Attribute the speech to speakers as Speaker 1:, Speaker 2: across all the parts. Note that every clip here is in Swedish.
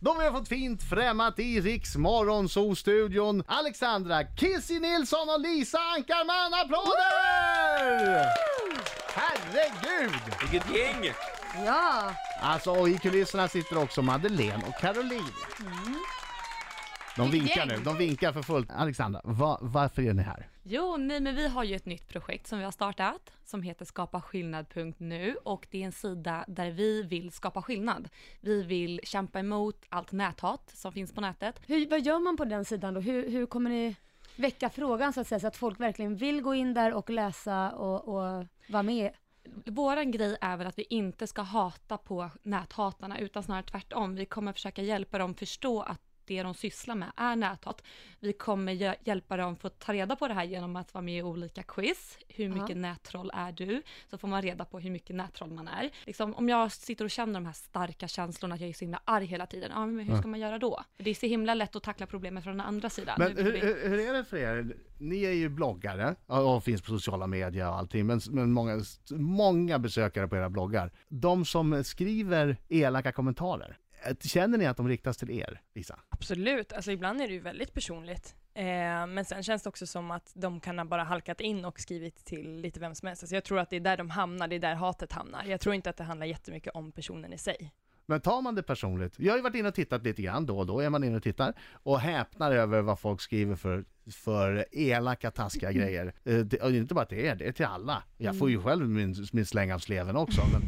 Speaker 1: De vi har fått fint främmat i Riks Morgonzoo-studion. Alexandra Kissi Nilsson och Lisa Ankarman. Applåder! Herregud!
Speaker 2: Vilket gäng!
Speaker 3: Ja,
Speaker 1: Alltså, och i kulisserna sitter också Madeleine och Caroline. De
Speaker 3: Mm. Vilket
Speaker 1: vinkar
Speaker 3: gäng.
Speaker 1: nu, de vinkar för fullt. Alexandra, va, varför är ni här?
Speaker 4: Jo, nej men vi har ju ett nytt projekt som vi har startat som heter skapaskillnad.nu och det är en sida där vi vill skapa skillnad. Vi vill kämpa emot allt näthat som finns på nätet.
Speaker 3: hur, vad gör man på den sidan då? Hur, hur kommer ni väcka frågan så att säga, så att folk verkligen vill gå in där och läsa och, och vara med?
Speaker 4: Våran grej är väl att vi inte ska hata på näthatarna utan snarare tvärtom. Vi kommer försöka hjälpa dem förstå att det de sysslar med är näthat. Vi kommer gö- hjälpa dem få ta reda på det här genom att vara med i olika quiz. Hur mycket nättroll är du? Så får man reda på hur mycket nättroll man är. Liksom, om jag sitter och känner de här starka känslorna, att jag är så himla arg hela tiden, ja, men hur ska man göra då? Det är så himla lätt att tackla problemet från den andra sidan.
Speaker 1: Men
Speaker 4: Nu-
Speaker 1: hur, hur, hur är det för er? Ni är ju bloggare ja, och finns på sociala medier och allting, men, men många, många besökare på era bloggar. De som skriver elaka kommentarer, eh, känner ni att de riktas till er, Lisa?
Speaker 5: Absolut, alltså ibland är det ju väldigt personligt. Eh, men sen känns det också som att de kan ha bara halkat in och skrivit till lite vem som helst. Alltså jag tror att det är där de hamnar, det är där hatet hamnar. Jag tror inte att det handlar jättemycket om personen i sig.
Speaker 1: Men tar man det personligt, jag har ju varit inne och tittat lite grann då och då är man inne och tittar och häpnar över vad folk skriver för, för elaka, taskiga
Speaker 5: Mm.
Speaker 1: grejer. Eh, Det, och inte bara till er, det är till alla. Jag får ju själv min, min släng av sleven också. Men,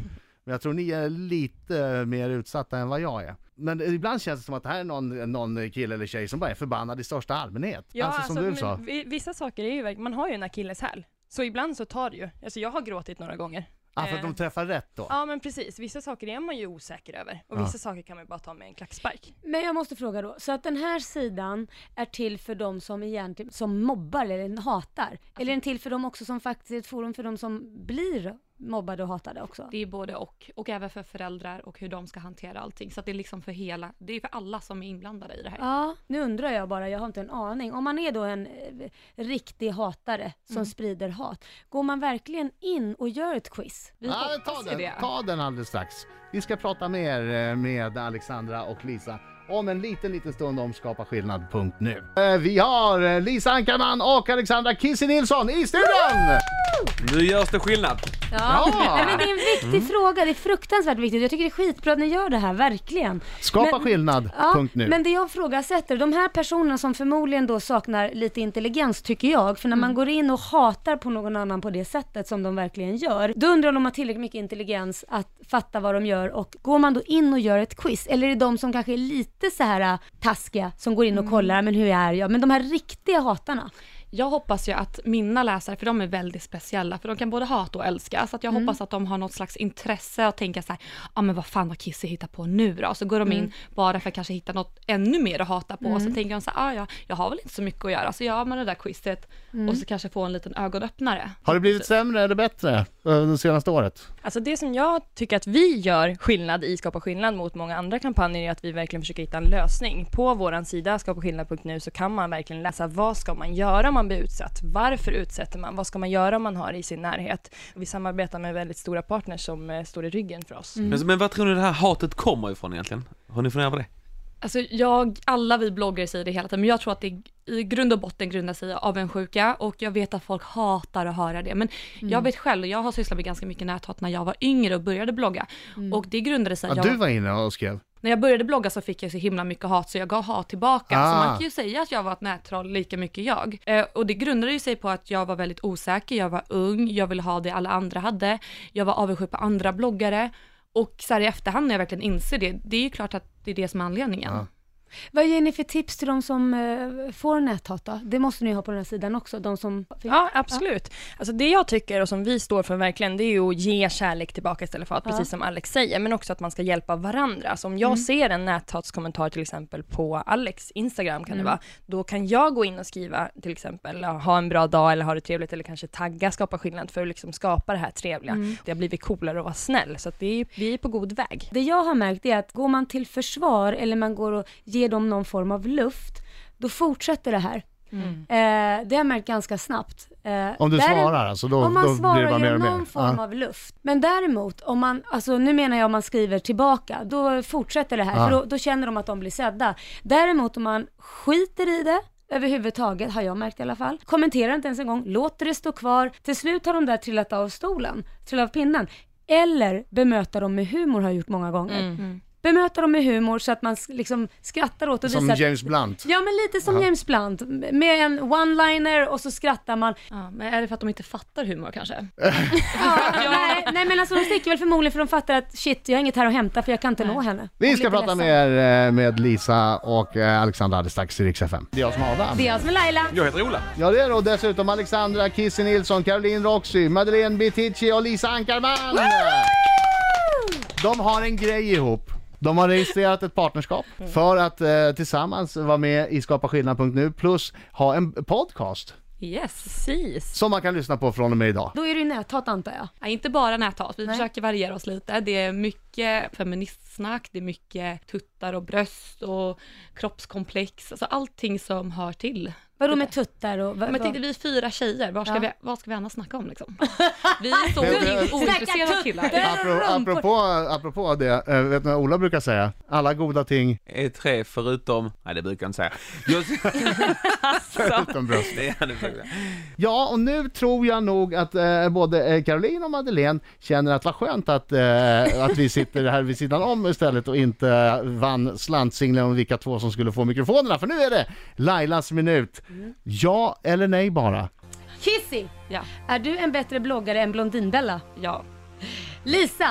Speaker 1: men jag tror ni är lite mer utsatta än vad jag är. Men ibland känns det som att det här är någon, någon kille eller tjej som bara är förbannad i största allmänhet. alltså som du
Speaker 5: men
Speaker 1: sa.
Speaker 5: vi- Vissa saker är ju, verk- man har ju en akilleshäl. Så ibland så tar det ju. Alltså jag har gråtit några gånger.
Speaker 1: Ja, för att de
Speaker 5: eh,
Speaker 1: träffar rätt då.
Speaker 5: Ja men precis, vissa saker är man ju osäker över och
Speaker 1: Ja.
Speaker 5: vissa saker kan man ju bara ta med en klackspark.
Speaker 3: Men jag måste fråga då, så att den här sidan är till för de som egentligen, som mobbar eller hatar? eller är den till för dem också som faktiskt är ett forum för de som blir mobbade och hatade också?
Speaker 4: Det är både och, och även för föräldrar och hur de ska hantera allting. Så att det är liksom för hela, det är för alla som är inblandade i det här.
Speaker 3: Ja, nu undrar jag bara, jag har inte en aning. Om man är då en eh, riktig hatare som sprider hat, går man verkligen in och gör ett quiz?
Speaker 1: Ja, men ta,
Speaker 4: ju
Speaker 1: den,
Speaker 4: det.
Speaker 1: ta den alldeles strax. Vi ska prata mer eh, med Alexandra och Lisa om en liten, liten stund om skapaskillnad.nu. Eh, Vi har eh, Lisa Ankarman och Alexandra Kissi Nilsson i studion!
Speaker 2: Nu görs det skillnad.
Speaker 1: Ja!
Speaker 3: Nej, men det är en viktig fråga, det är fruktansvärt viktigt. Jag tycker det är skitbra att ni gör det här, verkligen. Men- Ja,
Speaker 1: Skapaskillnad.nu.
Speaker 3: men det jag frågasätter, de här personerna som förmodligen då saknar lite intelligens tycker jag, för när man går in och hatar på någon annan på det sättet som de verkligen gör, då undrar de om de har tillräckligt mycket intelligens att fatta vad de gör och går man då in och gör ett quiz, eller är det de som kanske är lite så här äh, taskiga som går in och kollar, men hur är jag? Men de här riktiga hatarna.
Speaker 4: Jag hoppas ju att mina läsare, för de är väldigt speciella, för de kan både hata och älska. Så att
Speaker 1: Mm.
Speaker 4: jag hoppas att de har något slags intresse och tänka så här, ja ah, men vad fan har Kissy hittat på nu då? Så går de
Speaker 1: Mm.
Speaker 4: in bara för att kanske hitta något ännu mer att hata på. Och så tänker de så här, ah, ja, jag har väl inte så mycket att göra, så gör man det där quizet
Speaker 1: Mm.
Speaker 4: och så kanske få en liten ögonöppnare.
Speaker 1: Har det blivit sämre eller bättre eh, det senaste året?
Speaker 5: Alltså det som jag tycker att vi gör skillnad i Skapa skillnad mot många andra kampanjer är att vi verkligen försöker hitta en lösning. På vår sida skapaskillnad.nu så kan man verkligen läsa vad ska man göra om man blir utsatt? Varför utsätter man? Vad ska man göra om man har i sin närhet? Vi samarbetar med väldigt stora partners som eh, står i ryggen för oss.
Speaker 2: Men, men vad tror ni det här hatet kommer ifrån egentligen? Har ni funderat på det?
Speaker 4: Alltså jag, alla vi bloggare säger det hela tiden, men jag tror att det i grund och botten grundar sig av en sjuka och jag vet att folk hatar att höra det. Men jag vet själv, och jag har sysslat med ganska mycket näthat när jag var yngre och började blogga. Och det grundade sig...
Speaker 1: Ja,
Speaker 4: jag
Speaker 1: du var inne och skrev.
Speaker 4: när jag började blogga så fick jag så himla mycket hat så jag gav hat tillbaka.
Speaker 1: Ah.
Speaker 4: Så man kan ju säga att jag var ett nättroll lika mycket jag. Eh, och det grundade ju sig på att jag var väldigt osäker, jag var ung, jag ville ha det alla andra hade. Jag var avundsjuk på andra bloggare. Och så här i efterhand när jag verkligen inser det, det är ju klart att det är det som är anledningen.
Speaker 1: Ja.
Speaker 3: Vad ger ni för tips till de som eh, får näthat då? Det måste ni ha på den här sidan också, de som...
Speaker 5: Ja, absolut. Alltså det jag tycker och som vi står för verkligen, det är ju att ge kärlek tillbaka istället för att, precis som Alex säger, men också att man ska hjälpa varandra. Så om jag ser en näthatskommentar till exempel på Alex Instagram kan det vara, då kan jag gå in och skriva till exempel, ja, ha en bra dag eller ha det trevligt eller kanske tagga skapa skillnad för att liksom skapa det här trevliga. Det har blivit coolare att vara snäll, så att vi, vi är på god väg.
Speaker 3: Det jag har märkt är att går man till försvar eller man går och ger dem någon form av luft, då fortsätter det här.
Speaker 5: Mm.
Speaker 3: Eh, det har jag märkt ganska snabbt. Eh,
Speaker 1: Om du
Speaker 3: där-
Speaker 1: svarar alltså, då,
Speaker 3: om man
Speaker 1: då blir det
Speaker 3: svarar
Speaker 1: bara mer
Speaker 3: genom
Speaker 1: och mer.
Speaker 3: någon form
Speaker 1: Ja.
Speaker 3: av luft. Men däremot, om man, alltså nu menar jag om man skriver tillbaka, då fortsätter det här,
Speaker 1: Ja.
Speaker 3: för då, då känner de att de blir sedda. Däremot om man skiter i det, överhuvudtaget, har jag märkt i alla fall. Kommenterar inte ens en gång, låter det stå kvar. Till slut har de där trillat av stolen, trillat av pinnen. Eller bemöta dem med humor har jag gjort många gånger. Bemöta dem med humor så att man s- liksom skrattar åt och
Speaker 1: Som
Speaker 3: visar att-
Speaker 1: James Blunt.
Speaker 3: Ja men lite som James Blunt, med en one-liner och så skrattar man.
Speaker 4: Ja, men är det för att de inte fattar humor kanske?
Speaker 3: Ja, nej, nej men alltså de sticker väl förmodligen för de fattar att shit jag har inget här att hämta för jag kan inte nå henne.
Speaker 1: Vi
Speaker 3: Och
Speaker 1: ska
Speaker 3: lite
Speaker 1: prata
Speaker 3: ledsen.
Speaker 1: mer eh, med Lisa och eh, Alexandra Adestax i Rix FM. Det är jag som har Adam.
Speaker 3: Det är jag som är alltså, Laila.
Speaker 2: Jag heter Ola.
Speaker 1: Ja det är då dessutom Alexandra Kissi Nilsson, Caroline Roxy, Madeleine Bitici och Lisa Ankarman! De har en grej ihop. De har registrerat ett partnerskap för att eh, tillsammans vara med i skapaskillnad.nu plus ha en podcast
Speaker 4: Yes.
Speaker 5: Precis.
Speaker 1: som man kan lyssna på från och med idag.
Speaker 3: Då är det ju näthat antar jag.
Speaker 4: Ja, inte bara näthat, vi
Speaker 3: Nej.
Speaker 4: försöker variera oss lite. Det är mycket feministsnack, det är mycket tuttar och bröst och kroppskomplex, alltså allting som hör till.
Speaker 3: Vadå med tuttar och... Vad,
Speaker 4: Men tänkte
Speaker 3: vad?
Speaker 4: vi är fyra tjejer, vad ska,
Speaker 3: Ja.
Speaker 4: vi, vad ska vi annars snacka om liksom? Vi är så
Speaker 1: Men-
Speaker 4: ointresserade av killar.
Speaker 1: Apro, apropå, apropå det, eh, vet ni vad Ola brukar säga? Alla goda ting
Speaker 2: Är tre förutom... Nej, det brukar jag inte säga. Jag...
Speaker 1: utom bröst.
Speaker 2: det hade jag faktiskt-
Speaker 1: Ja, och nu tror jag nog att eh, både eh, Caroline och Madeleine känner att vad skönt att, eh, att vi sitter här vid sidan om istället och inte vann slantsinglen om vilka två som skulle få mikrofonerna. För nu är det Lailas minut. Ja eller nej bara.
Speaker 3: Kissy!
Speaker 4: Ja,
Speaker 3: Är du en bättre bloggare än Blondinbella?
Speaker 4: ja.
Speaker 3: Lisa!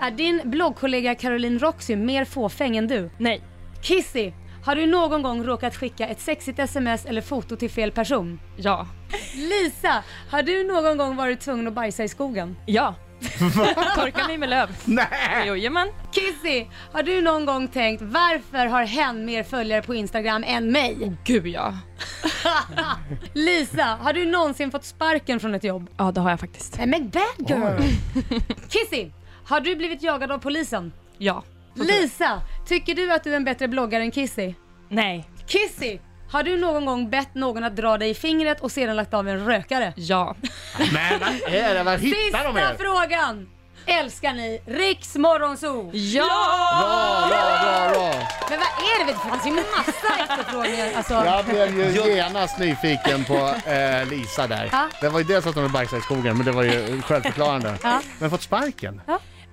Speaker 3: Är din bloggkollega Caroline Roxy mer fåfäng än du?
Speaker 5: Nej.
Speaker 3: Kissy! Har du någon gång råkat skicka ett sexigt sms eller foto till fel person?
Speaker 4: ja.
Speaker 3: Lisa! Har du någon gång varit tvungen att bajsa i skogen?
Speaker 5: Ja. Torka mig med löv.
Speaker 1: Nej!
Speaker 5: Jojomän.
Speaker 3: Kissy, har du någon gång tänkt varför har hen mer följare på Instagram än mig?
Speaker 4: Gud ja.
Speaker 3: Lisa, har du någonsin fått sparken från ett jobb?
Speaker 5: Ja, det har jag faktiskt.
Speaker 3: Alltså, Nej men bad girl! Kissy, har du blivit jagad av polisen?
Speaker 4: Ja.
Speaker 3: Lisa, tycker du att du är en bättre bloggare än Kissy?
Speaker 5: Nej.
Speaker 3: Kissy, har du någon gång bett någon att dra dig i fingret och sedan lagt av en rökare?
Speaker 4: Ja.
Speaker 1: Men vad är det? Vad hittar de
Speaker 3: Sista
Speaker 1: er?
Speaker 3: frågan! Älskar ni Riks Morgonzoo?
Speaker 5: Ja!
Speaker 1: Bra, bra, bra, bra.
Speaker 3: Men vad är det? vet du? Det fanns ju massa efterfrågningar. Alltså,
Speaker 1: Jag blev ju genast nyfiken på eh, Lisa där.
Speaker 3: Ja.
Speaker 1: Det var ju dels att hon hade bajsat i skogen, men det var ju självförklarande.
Speaker 3: Ja.
Speaker 1: Men fått sparken?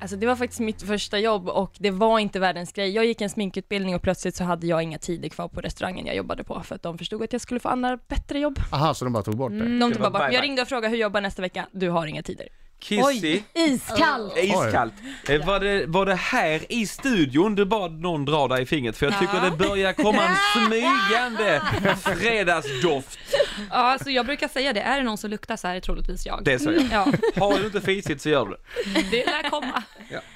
Speaker 5: Alltså det var faktiskt mitt första jobb och det var inte världens grej. Jag gick en sminkutbildning och plötsligt så hade jag inga tider kvar på restaurangen jag jobbade på för att de förstod att jag skulle få andra bättre jobb.
Speaker 4: Mm.
Speaker 1: Aha, så de bara tog bort
Speaker 3: Mm.
Speaker 1: det?
Speaker 5: De
Speaker 2: Det
Speaker 5: tog
Speaker 2: var
Speaker 5: bara bort.
Speaker 2: bye-bye.
Speaker 5: Jag ringde och frågade hur jobbar nästa vecka? Du har inga tider.
Speaker 2: Kissy.
Speaker 3: Iskall.
Speaker 2: Eh, Iskallt. Eh, Var det, var det här i studion du bad någon dra dig i fingret? För jag tycker det börjar komma en smygande fredagsdoft.
Speaker 4: ja så jag brukar säga det, är det någon som luktar så här är det troligtvis jag.
Speaker 2: Det säger jag.
Speaker 4: Ja,
Speaker 2: Har du inte fisit så gör du det.
Speaker 4: det lär komma.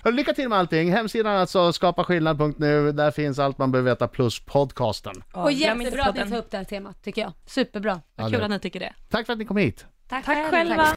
Speaker 1: Hörru, Lycka till med allting. Hemsidan alltså skapaskillnad.nu. Där finns allt man behöver veta plus podcasten.
Speaker 3: Och
Speaker 5: glöm inte
Speaker 3: jättebra att ni
Speaker 5: podden.
Speaker 3: tar upp det här temat tycker jag. Superbra.
Speaker 1: Ja,
Speaker 4: Kul
Speaker 1: det-
Speaker 4: att ni tycker det.
Speaker 1: Tack för att ni kom hit.
Speaker 4: Tack,
Speaker 5: själva.